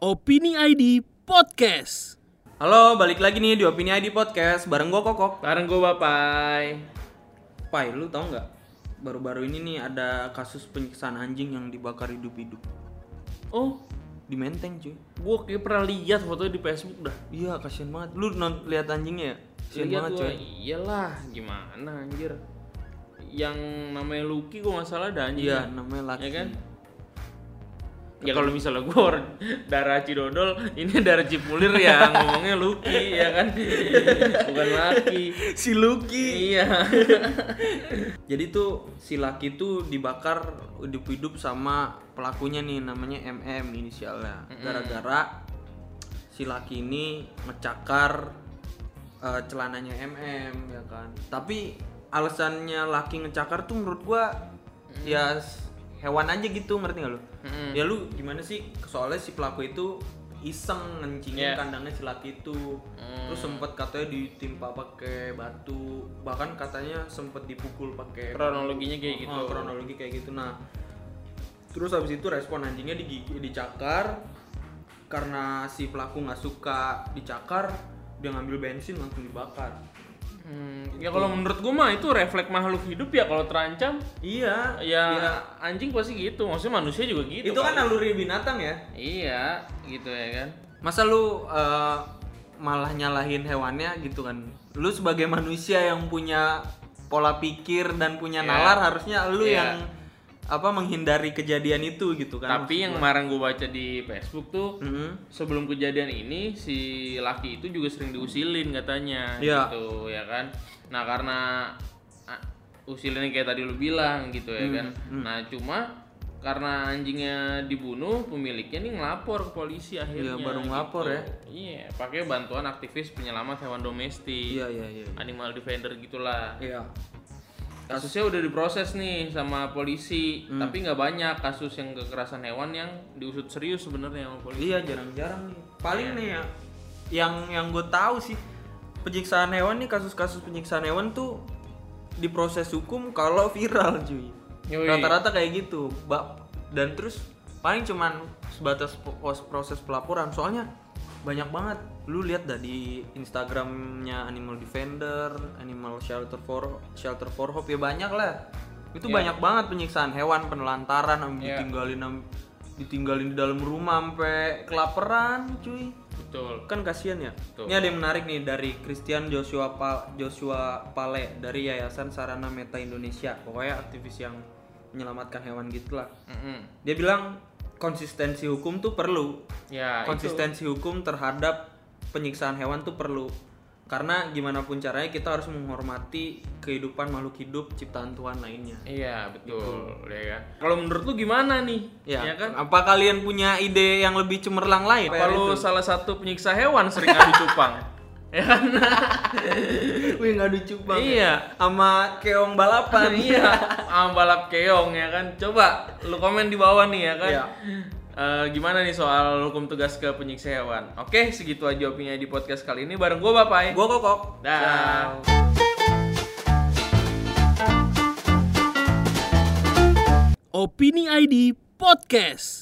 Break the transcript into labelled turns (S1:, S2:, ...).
S1: Opini ID Podcast.
S2: Halo, balik lagi nih di Opini ID Podcast bareng gue Kokok.
S3: Bareng gue Bapai
S2: Pai, lu tau nggak? Baru-baru ini nih ada kasus penyiksaan anjing yang dibakar hidup-hidup
S3: Oh
S2: di Menteng cuy.
S3: gue kayak pernah lihat fotonya di Facebook dah
S2: Iya, kasihan banget. Lu non lihat anjingnya? ya? Kasihan
S3: Lihat
S2: banget
S3: gua,
S2: cuy.
S3: Iyalah gimana anjir Yang namanya Lucky gue gak salah ada anjing
S2: Iya, namanya Laki.
S3: Ya kan? Ya kalau misalnya gue darah Cidodol, ini darah Cipulir ya ngomongnya Lucky ya kan, bukan Laki.
S2: Si Lucky.
S3: Iya.
S2: Jadi tuh si Laki tuh dibakar hidup-hidup sama pelakunya nih namanya MM inisialnya. Gara-gara si Laki ini ngecakar eh, celananya MM ya kan. Tapi alasannya Laki ngecakar tuh menurut gua ya s- hewan aja gitu ngerti gak lu?
S3: Mm-mm.
S2: Ya lu gimana sih soalnya si pelaku itu iseng ngencingin
S3: Iya. Hmm.
S2: kandangnya si Laki itu. Terus sempet katanya ditimpa pakai batu, bahkan katanya sempet dipukul pakai
S3: Kronologinya kayak gitu.
S2: Oh, kronologi kayak gitu. Nah, terus habis itu respon anjingnya digigi, dicakar karena si pelaku nggak suka dicakar, dia ngambil bensin langsung dibakar.
S3: Hmm,
S2: Gitu.
S3: ya kalau menurut gue mah itu refleks makhluk hidup ya kalau terancam
S2: Iya,
S3: ya
S2: iya.
S3: anjing pasti gitu maksudnya manusia juga gitu
S2: Itu kan
S3: kali.
S2: naluri binatang ya.
S3: iya gitu ya kan
S2: Masa lu eh, malah nyalahin hewannya gitu kan? Lu sebagai manusia yang punya pola pikir dan punya
S3: Iya.
S2: nalar harusnya lu
S3: Iya.
S2: yang apa menghindari kejadian itu gitu kan.
S3: tapi yang kemarin gue baca di Facebook tuh
S2: Mhm.
S3: sebelum kejadian ini si laki itu juga sering diusilin katanya
S2: Iya.
S3: gitu ya kan nah karena ah, usilinnya kayak tadi lu bilang gitu
S2: Hmm,
S3: ya kan nah cuma karena anjingnya dibunuh pemiliknya nih ngelapor ke polisi akhirnya
S2: Iya,
S3: gitu.
S2: baru ngelapor ya.
S3: iya pakai bantuan aktivis penyelamat hewan domestik
S2: Iya, iya, iya.
S3: animal defender gitulah
S2: Iya.
S3: kasusnya udah diproses nih sama polisi
S2: Hmm.
S3: tapi nggak banyak kasus yang kekerasan hewan yang diusut serius sebenarnya sama polisi
S2: Iya jarang-jarang nih. Paling nih ya, yang yang gue tahu sih penyiksaan hewan nih kasus-kasus penyiksaan hewan tuh diproses hukum kalau viral cuy.
S3: Yoi.
S2: Rata-rata kayak gitu. Ba- dan terus paling cuman sebatas po- pos- proses pelaporan soalnya banyak banget lu lihat dah di Instagramnya Animal Defender, Animal Shelter for Shelter for Hope ya banyak lah. Itu banyak banget penyiksaan hewan, penelantaran,
S3: Iya.
S2: ditinggalin am- ditinggalin di dalam rumah sampai kelaparan cuy
S3: betul
S2: kan kasihan ya
S3: Betul.
S2: ini ada yang menarik nih dari Christian Joshua Pa- Joshua Pale dari Yayasan Sarana Meta Indonesia pokoknya aktivis yang menyelamatkan hewan gitulah
S3: Mm-mm.
S2: dia bilang konsistensi hukum tuh perlu
S3: Ya,
S2: konsistensi hukum terhadap penyiksaan hewan tuh perlu karena gimana pun caranya kita harus menghormati kehidupan makhluk hidup ciptaan Tuhan lainnya
S3: itu- iya betul, ya kan. Kalau menurut lu gimana nih?
S2: ya,
S3: kan?
S2: apa kalian punya ide yang lebih cemerlang lain
S3: Apa lu salah satu penyiksa hewan sering adu cupang? ya kan?
S2: Wih ngadu cupang.
S3: Iya.
S2: ya? Sama keong balapan.
S3: iya, sama balap keong ya kan. Coba lu komen di bawah nih ya kan.
S2: Iya.
S3: Eh, gimana nih soal hukum tugas ke penyiksa hewan? Oke, segitu aja opini di podcast kali ini bareng gua Bapai.
S2: Gua kokok.
S3: Dah.
S2: Ciao.
S1: Opini ID Podcast.